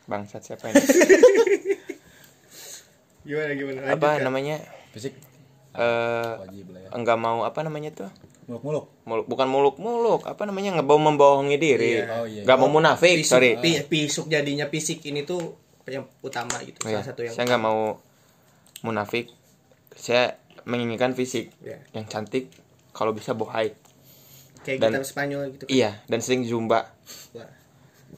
bangsat siapa ini? *laughs* gimana gimana lanjut, apa Kak. namanya? Fisik Eh wajib lah ya. nggak mau apa namanya tuh? Muluk-muluk. Muluk, bukan muluk-muluk, apa namanya nggak mau membohongi diri, Iya. Oh, iya. nggak mau munafik, Pisuk- Eh, sorry. pi- pisuk jadinya fisik ini tuh yang utama gitu Iya, salah satu yang saya nggak mau munafik saya menginginkan fisik Iya. yang cantik kalau bisa bohai kayak dan- gitar Spanyol gitu kan. iya dan sering zumba Wah.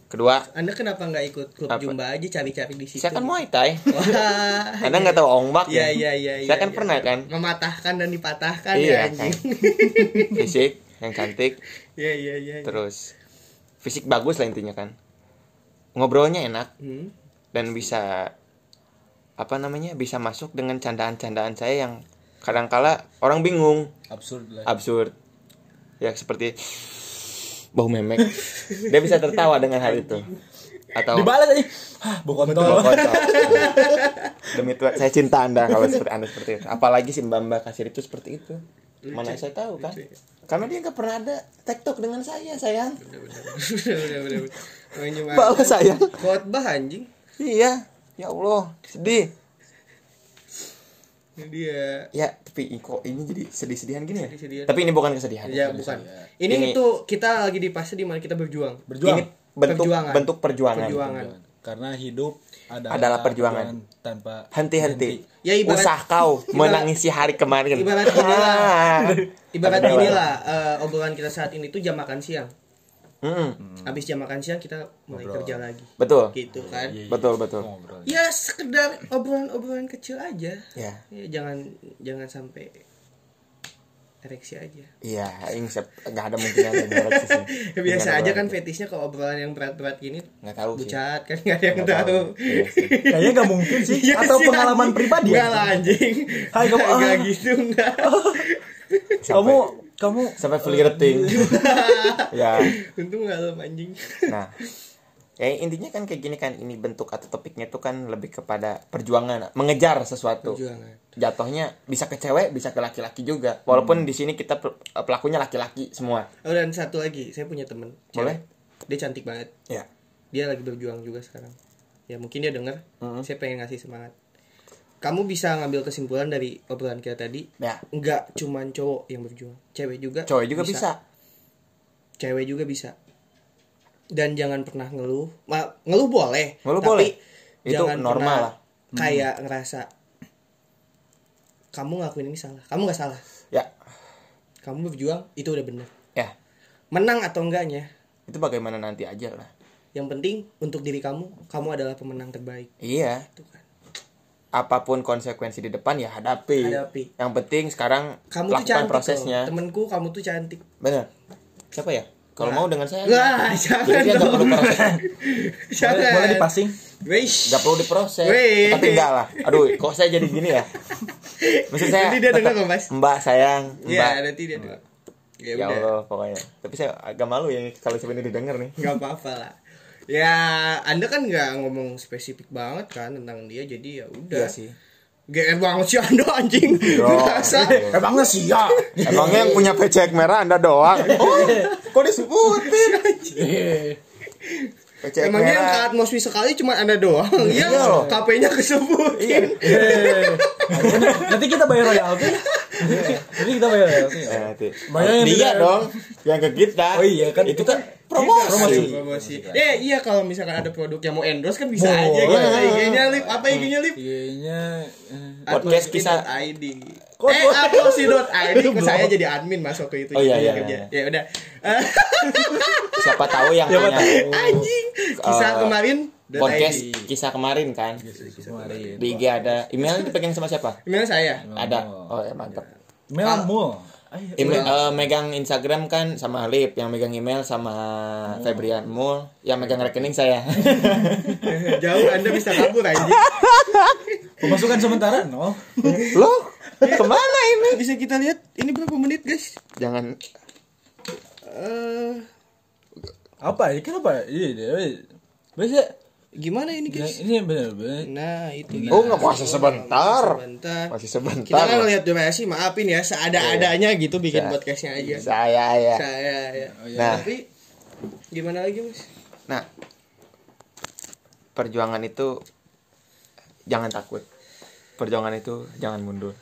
kedua anda kenapa nggak ikut klub Apa? Jumba aja cari-cari di situ saya kan muay thai *laughs* Wah. anda nggak tahu ombak Iya iya ya iya. iya, saya kan iya. pernah kan mematahkan dan dipatahkan Iya, ya anjing. *laughs* fisik yang cantik Iya iya iya. iya. terus fisik bagus lah intinya kan ngobrolnya enak Hmm. dan bisa apa namanya bisa masuk dengan candaan-candaan saya yang kadangkala orang bingung absurd lah absurd ya seperti bau memek dia bisa tertawa dengan hal itu atau dibalas aja hah bau Bau kontol kocok. demi Tuhan saya cinta anda kalau seperti anda seperti itu apalagi si mbak mbak kasir itu seperti itu mana saya tahu kan karena dia nggak pernah ada tektok dengan saya sayang Bener, bener, *laughs* bener. Main cuma balas sayang khotbah anjing. iya ya allah sedih Ini Dia ya tapi kok ini jadi sedih-sedihan gini ya Sedih-sedihan. tapi ini bukan kesedihan ya Ini bukan. ya. Ini, Ini- itu kita lagi di fase di mana kita berjuang. berjuang ini bentuk Perjuangan. bentuk perjuangan, Perjuangan. karena hidup adalah, Adalah perjuangan. tanpa henti-henti Ya, ibarat- usah kau *laughs* ibarat- menangisi hari kemarin Ibarat inilah. Ah. Ibarat Tapi inilah eh, obrolan kita saat ini tuh jam makan siang. Mm, Hmm. Habis jam makan siang kita mulai kerja lagi. betul Hmm. Gitu Iya, kan. betul betul ngobrol Ya sekedar obrolan-obrolan kecil aja. ya Ya, jangan jangan sampai ereksi *laughs* aja. iya ini sep- nggak ada mungkin ada yang berat sih. *laughs* Biasa aja Nggak ada kan berat. fetishnya kalau obrolan yang berat-berat gini Iya. nggak tahu sih bucat kan nggak ada yang Nggak tahu. Iya sih. *laughs* kayaknya nggak mungkin sih Iya atau sih, pengalaman anjing. pribadi Nggak ya? lah anjing. Hai, kamu- *laughs* Nggak- nggak ah. gitu *laughs* enggak. kamu Sampai- kamu sampai *laughs* flirting ya Untung nggak lo anjing. Nah, ya intinya kan kayak gini kan ini bentuk atau topiknya itu kan lebih kepada perjuangan, mengejar sesuatu. Perjuangan. Jatuhnya bisa ke cewek, bisa ke laki-laki juga. Hmm. Walaupun di sini kita per- pelakunya laki-laki semua. Oh dan satu lagi, saya punya temen. cewek. Boleh? Dia cantik banget. Ya. Dia lagi berjuang juga sekarang. Ya mungkin dia denger. Saya pengen ngasih semangat. Kamu bisa ngambil kesimpulan dari obrolan kita tadi. Ya. Nggak cuman cowok yang berjuang, cewek juga. Cowok juga bisa. Cewek juga bisa. Dan jangan pernah ngeluh. Ma, ngeluh boleh. Ngeluh tapi boleh. Itu jangan normal pernah lah. Kayak ngerasa kamu ngelakuin ini salah. Kamu nggak salah. Ya. Kamu berjuang itu udah bener. Ya. Menang atau enggaknya Itu bagaimana nanti aja lah. Yang penting untuk diri kamu, kamu adalah pemenang terbaik. Iya. Itu kan. Apapun konsekuensi di depan ya hadapi. Hadapi. Yang penting sekarang Kamu tuh lakukan cantik. prosesnya. loh. Temenku, kamu tuh cantik. Bener. Siapa ya? Kalau mau dengan saya. Wah, Jadi *laughs* jangan dia Iya, nggak dong. perlu *laughs* proses. boleh, jangan. boleh dipasing Wish. Gak perlu diproses Wih. Tapi enggak lah Aduh kok saya jadi gini ya Maksud saya Nanti dia tetap, denger kok, Mas. Mbak sayang Iya, Mbak nanti dia. denger. Ya, Ya udah. Allah pokoknya Tapi saya agak malu ya Kalau sebenarnya didengar nih Gak apa-apa lah. Ya, Anda kan nggak ngomong spesifik banget kan tentang dia, jadi ya udah. Iya GR banget sih Anda anjing. Masa? Iya. emangnya sih ya Emangnya yang punya pecek merah anda *laughs* doang Oh kok disebutin Pecek Emangnya yang merah taat Moswi sekali cuma Anda doang. Iya, Iya loh. KP-nya kesebutin. nanti kita bayar royalti nanti kita bayar royalti Eh, nanti. Banyak yang Dia tidak- dong Yang ke kita Oh iya, kan Itu kita- kan promosi, promosi promosi eh iya kalau misalkan ada produk yang mau endorse kan bisa Boleh. aja kan Ada IG-nya lip apa IG-nya lip kayaknya eh, Podcast kisah- id Kok- eh kok- uplosi.id ke saya jadi admin masuk ke itu Oh, iya, Jadi iya, kerja. iya. ya udah Eh, Siapa tahu yang *laughs* Siapa punya tahu. anjing kisah Eh, kemarin dot Podcast ID. kisah kemarin kan kemarin Di IG ada Email dipegang sama siapa? email saya *laughs* ada oh ya mantap melamu Ayo. Email, eh, megang Instagram kan sama Alip yang megang email sama Oh. Febrian Mul yang megang *laughs* rekening saya jauh anda bisa kabur anjing pemasukan sementara nol loh kemana ini bisa kita lihat ini berapa menit guys jangan Eh apa ini kenapa ini dia- biasa gimana ini nah, guys ini benar-benar nah itu oh nggak puasa sebentar sebentar masih kita sebentar kan ngeliat durasi maafin ya seada-adanya gitu bikin Ya. podcastnya aja saya ya saya ya Nah. tapi gimana lagi mas nah perjuangan itu jangan takut perjuangan itu jangan mundur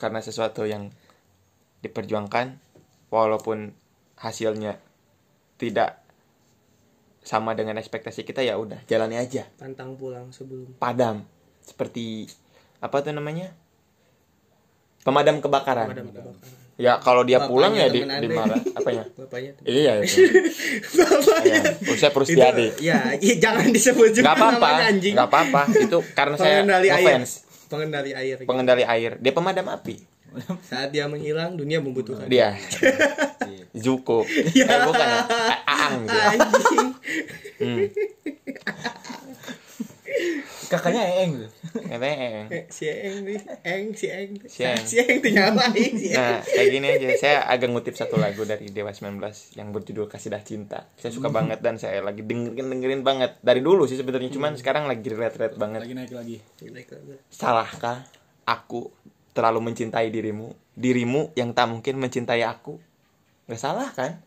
karena sesuatu yang diperjuangkan walaupun hasilnya tidak sama dengan ekspektasi kita ya udah jalani aja pantang pulang sebelum padam seperti apa tuh namanya pemadam kebakaran padam kebakaran ya kalau dia Bapaknya pulang ya di temen Andre. dimarah *laughs* apanya *laughs* bapaknya iya itu Ya, bapaknya Usep Rusdiadi ya iya, jangan disebut juga Iya. nggak apa-apa namanya anjing nggak apa-apa itu karena saya pengendali air ngefans pengendali air pengendali air dia pemadam api saat dia menghilang dunia membutuhkan *laughs* dia Zuko eh, bukan ya. A- Aang dia anjing kakaknya eeng gitu. katanya eh. Eh, si Eng nih, Eng, si Eng, Si Eng. si Eng tuh nyala Eng, si Eng. nah kayak gini aja saya agak ngutip satu lagu dari Dewa 19 yang berjudul Kasidah Cinta saya suka Hmm. banget dan saya lagi dengerin dengerin banget dari dulu sih sebenarnya cuman Hmm. sekarang lagi relate relate banget lagi naik lagi salahkah aku terlalu mencintai dirimu dirimu yang tak mungkin mencintai aku nggak salah kan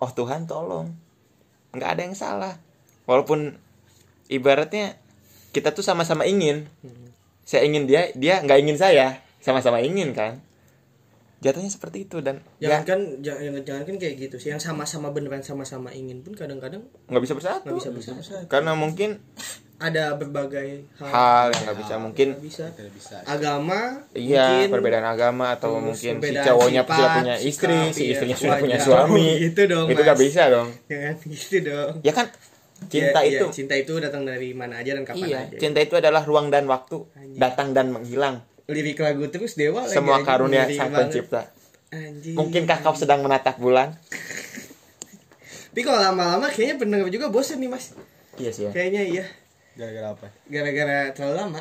oh Tuhan tolong nggak ada yang salah walaupun ibaratnya kita tuh sama-sama ingin saya ingin dia dia nggak ingin saya sama-sama ingin kan jatuhnya seperti itu dan ya, Jangan nggak kan, jangan, jangan kan kayak gitu sih. Yang sama-sama beneran sama-sama ingin pun kadang-kadang nggak bisa bersatu nggak bisa bersatu. karena mungkin Ada berbagai hal. hal yang nggak bisa mungkin Nggak bisa. tidak bisa Agama. Iya, mungkin, perbedaan agama atau terus mungkin si perbedaan cowoknya sifat, sudah punya istri, sikap, si iya, istrinya sudah wajar. punya suami. *laughs* Gitu dong, Itu gak Mas. bisa dong. Jangan *laughs* gitu dong. Ya kan cinta Ya, iya, itu. cinta itu datang dari mana aja dan kapan Iya, aja. cinta itu adalah ruang dan waktu, datang dan menghilang. Lirik lagu terus Dewa lagi Semua anjing, karunia lirik banget. Sang Iya. Pencipta. Anjing. Mungkinkah kau sedang menatap bulan? Tapi kalau lama-lama kayaknya pendengar juga bosan nih, Mas. Iya sih ya. Kayaknya iya. gara-gara apa Gara-gara terlalu lama.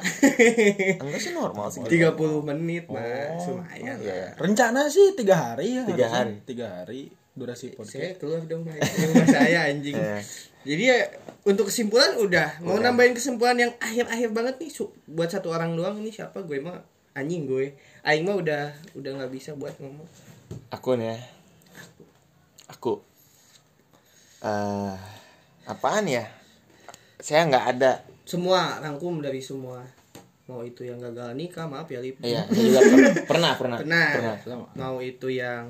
*laughs* Enggak sih normal. 30 menit, Mas. Lumayan. lah. Iya. rencana sih tiga hari ya Tiga harusnya. hari. tiga hari durasi podcast Saya keluar dong Mas. Di rumah saya anjing. Iya. Jadi ya untuk kesimpulan udah. Mau nambahin kesimpulan yang akhir-akhir banget nih Su- buat satu orang doang ini siapa gue mah anjing gue. Aing mah udah udah nggak bisa buat ngomong. Aku nih ya. Aku. Eh, apaan ya? Saya nggak ada. Semua rangkum dari semua. Mau itu yang gagal nikah, maaf ya Lip. Iya, saya juga *laughs* pernah, pernah, pernah. Pernah. Sama. Mau itu yang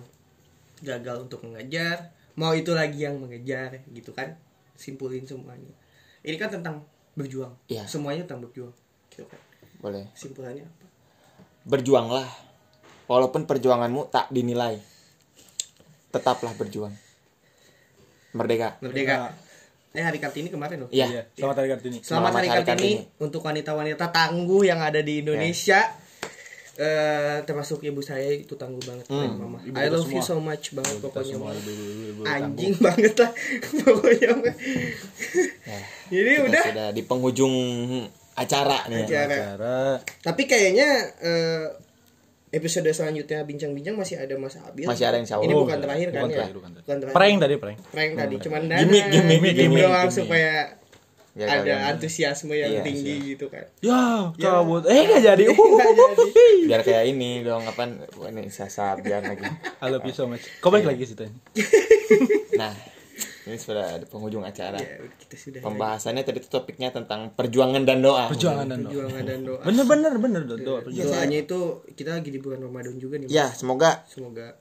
gagal untuk mengejar, mau itu lagi yang mengejar gitu kan. Simpulin semuanya. Ini kan tentang berjuang. Iya. Semuanya tentang berjuang. Gitu kan. Boleh. Kesimpulannya apa? berjuanglah walaupun perjuanganmu tak dinilai tetaplah berjuang merdeka Merdeka. Eh hari Kartini kemarin loh. iya selamat hari kartini Selamat, hari Kartini, untuk wanita-wanita tangguh yang ada di Indonesia. Eh, termasuk ibu saya itu tangguh banget keren, mama. I kita love you so semua. much banget pokoknya. semua mah. ibu-ibu Anjing banget lah *laughs* pokoknya. mah. Ya, Jadi kita udah sudah di penghujung acara nih Acara. cara Tapi kayaknya eh, episode selanjutnya bincang-bincang masih ada Mas Abil. Masih ada, insya Allah. Ini bukan terakhir kan Bukan ya? terakhir, bukan terakhir. Bukan terakhir. prank tadi prank Prank tadi cuman dana. Gimik, gimik, gimik, doang gimik. supaya Ya, ada kalian- antusiasme yang Iya, tinggi gitu kan. ya kabut eh *laughs* nggak jadi uh Nggak *laughs* jadi. biar kayak ini dong apa ini sasar biar lagi I love you so much kau Iya. balik lagi situ nah ini sudah di penghujung acara Ya, udah, kita sudah. pembahasannya tadi tuh topiknya tentang perjuangan dan doa perjuangan dan doa Perjuangan dan doa. bener bener Iya, bener doa Iya. doa perjuangan Doanya itu kita lagi di bulan Ramadan juga nih. Mas. ya Oh, semoga Semoga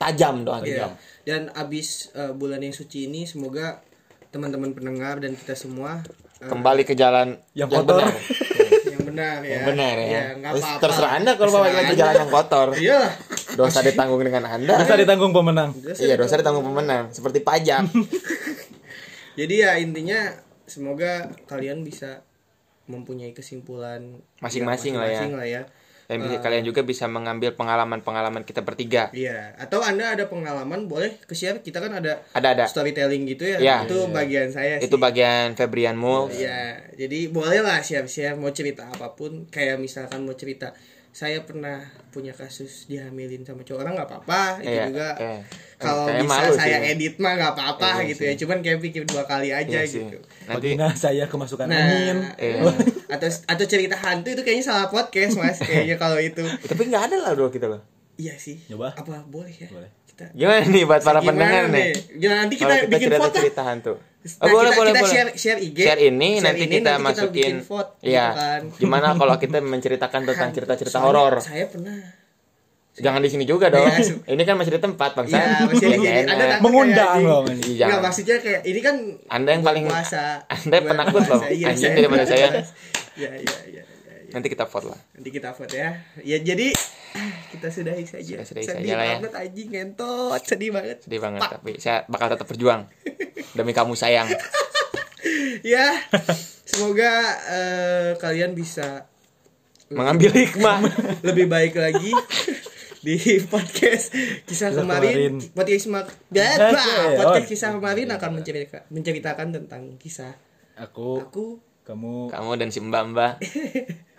tajam doa Iya. kita Dan abis eh, bulan yang suci ini semoga teman-teman pendengar dan kita semua eh, kembali ke jalan Yang kotor. yang benar ya. yang benar ya, Iya, nggak apa-apa. terserah anda kalau mau Terserah lagi ke jalan yang kotor Anda. Iya. dosa ditanggung dengan anda bisa ditanggung pemenang iya dosa ditanggung pemenang seperti pajak Jadi ya intinya semoga kalian bisa mempunyai kesimpulan Masing-masing lah ya. masing-masing lah ya. dan bisa- kalian juga bisa mengambil pengalaman-pengalaman kita bertiga Iya, atau Anda ada pengalaman boleh ke share. Kita kan ada ada ada storytelling gitu ya. Iya. Itu bagian saya sih. itu bagian Febrian Mul Iya, jadi bolehlah share-share mau cerita apapun. Kayak misalkan mau cerita saya pernah punya kasus dihamilin sama cowok orang nggak apa-apa itu Iya, juga iya. kalau Kayak bisa malu sih saya ya. edit mah nggak apa-apa Iya gitu ya cuman kayak pikir dua kali aja Iya sih. gitu nanti nah saya kemasukan Nah, angin iya. atau atau cerita hantu itu kayaknya salah podcast mas kayaknya kalau itu tapi nggak ada lah dua kita loh iya sih Coba. apa boleh ya Boleh. kita gimana nih buat para Gimana pendengar nih Jangan nanti kita, kalau kita bikin cerita vote lah. cerita hantu Nah, Oh, boleh kita, boleh kita boleh share share IG share ini share nanti ini, kita bikin masukin vote iya gitu kan. gimana kalau kita menceritakan tentang Hantu. cerita-cerita Soalnya horor saya pernah jangan di sini juga dong Iya, su- ini kan masih di tempat bangsa Iya, masih *laughs* di sini. Jangan. Anda takut mengundang kayak loh di- ini. Nggak, Jangan. maksudnya kayak ini kan Iya. Anda yang bulan paling- puasa. Anda Bulan penakut puasa. loh, Iya, anjing daripada saya. Iya, iya, iya, iya, iya. nanti kita vote lah Nanti kita vote ya. Ya jadi ah, kita sudahi saja. Sudah sudahi sedih saja lah ya. banget anjing ngentot, sedih banget. sedih banget tapi saya bakal tetap berjuang demi kamu sayang Ya. Semoga eh, kalian bisa mengambil hikmah lebih baik *laughs* lagi di podcast kisah Kisah kemarin, kemarin. podcast mak Blah, Kisah blah. kemarin. podcast kisah kemarin akan menceritakan, menceritakan tentang kisah aku aku kamu kamu dan si mbak mbak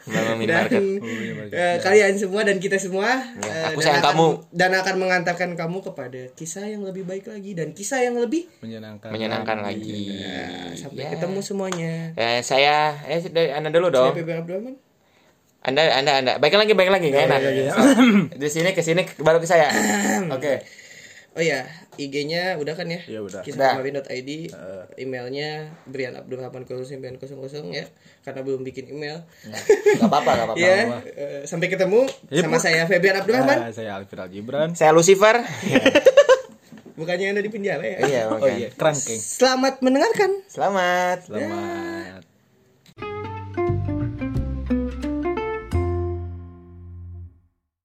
mbak mbak minimarket Oh, iya, Dan, eh, kalian semua dan kita semua eh, Iya, aku dan sayang akan- kamu. dan akan mengantarkan kamu kepada kisah yang lebih baik lagi dan kisah yang lebih menyenangkan menyenangkan lagi Nah, sampai Ya. ketemu semuanya Eh, saya eh dari anda dulu dong Saya Bebe Abdurrahman anda anda anda baik lagi baik lagi nggak enak *clears throat* di sini ke sini baru ke saya oke Oh ya, IG-nya udah kan ya? Iya, udah. Eh. Udah. kisahkemarin.id, emailnya Brian Abdurrahman 0900 ya, karena belum bikin email. nggak apa apa nggak apa, -apa. ya, eh, sampai ketemu Iya, sama saya Febian Abdurrahman. Nah, saya Alfred Aljibran saya Lucifer Bukannya Anda di penjara ya? iya oh bukan. iya kerangkeng Selamat mendengarkan. selamat selamat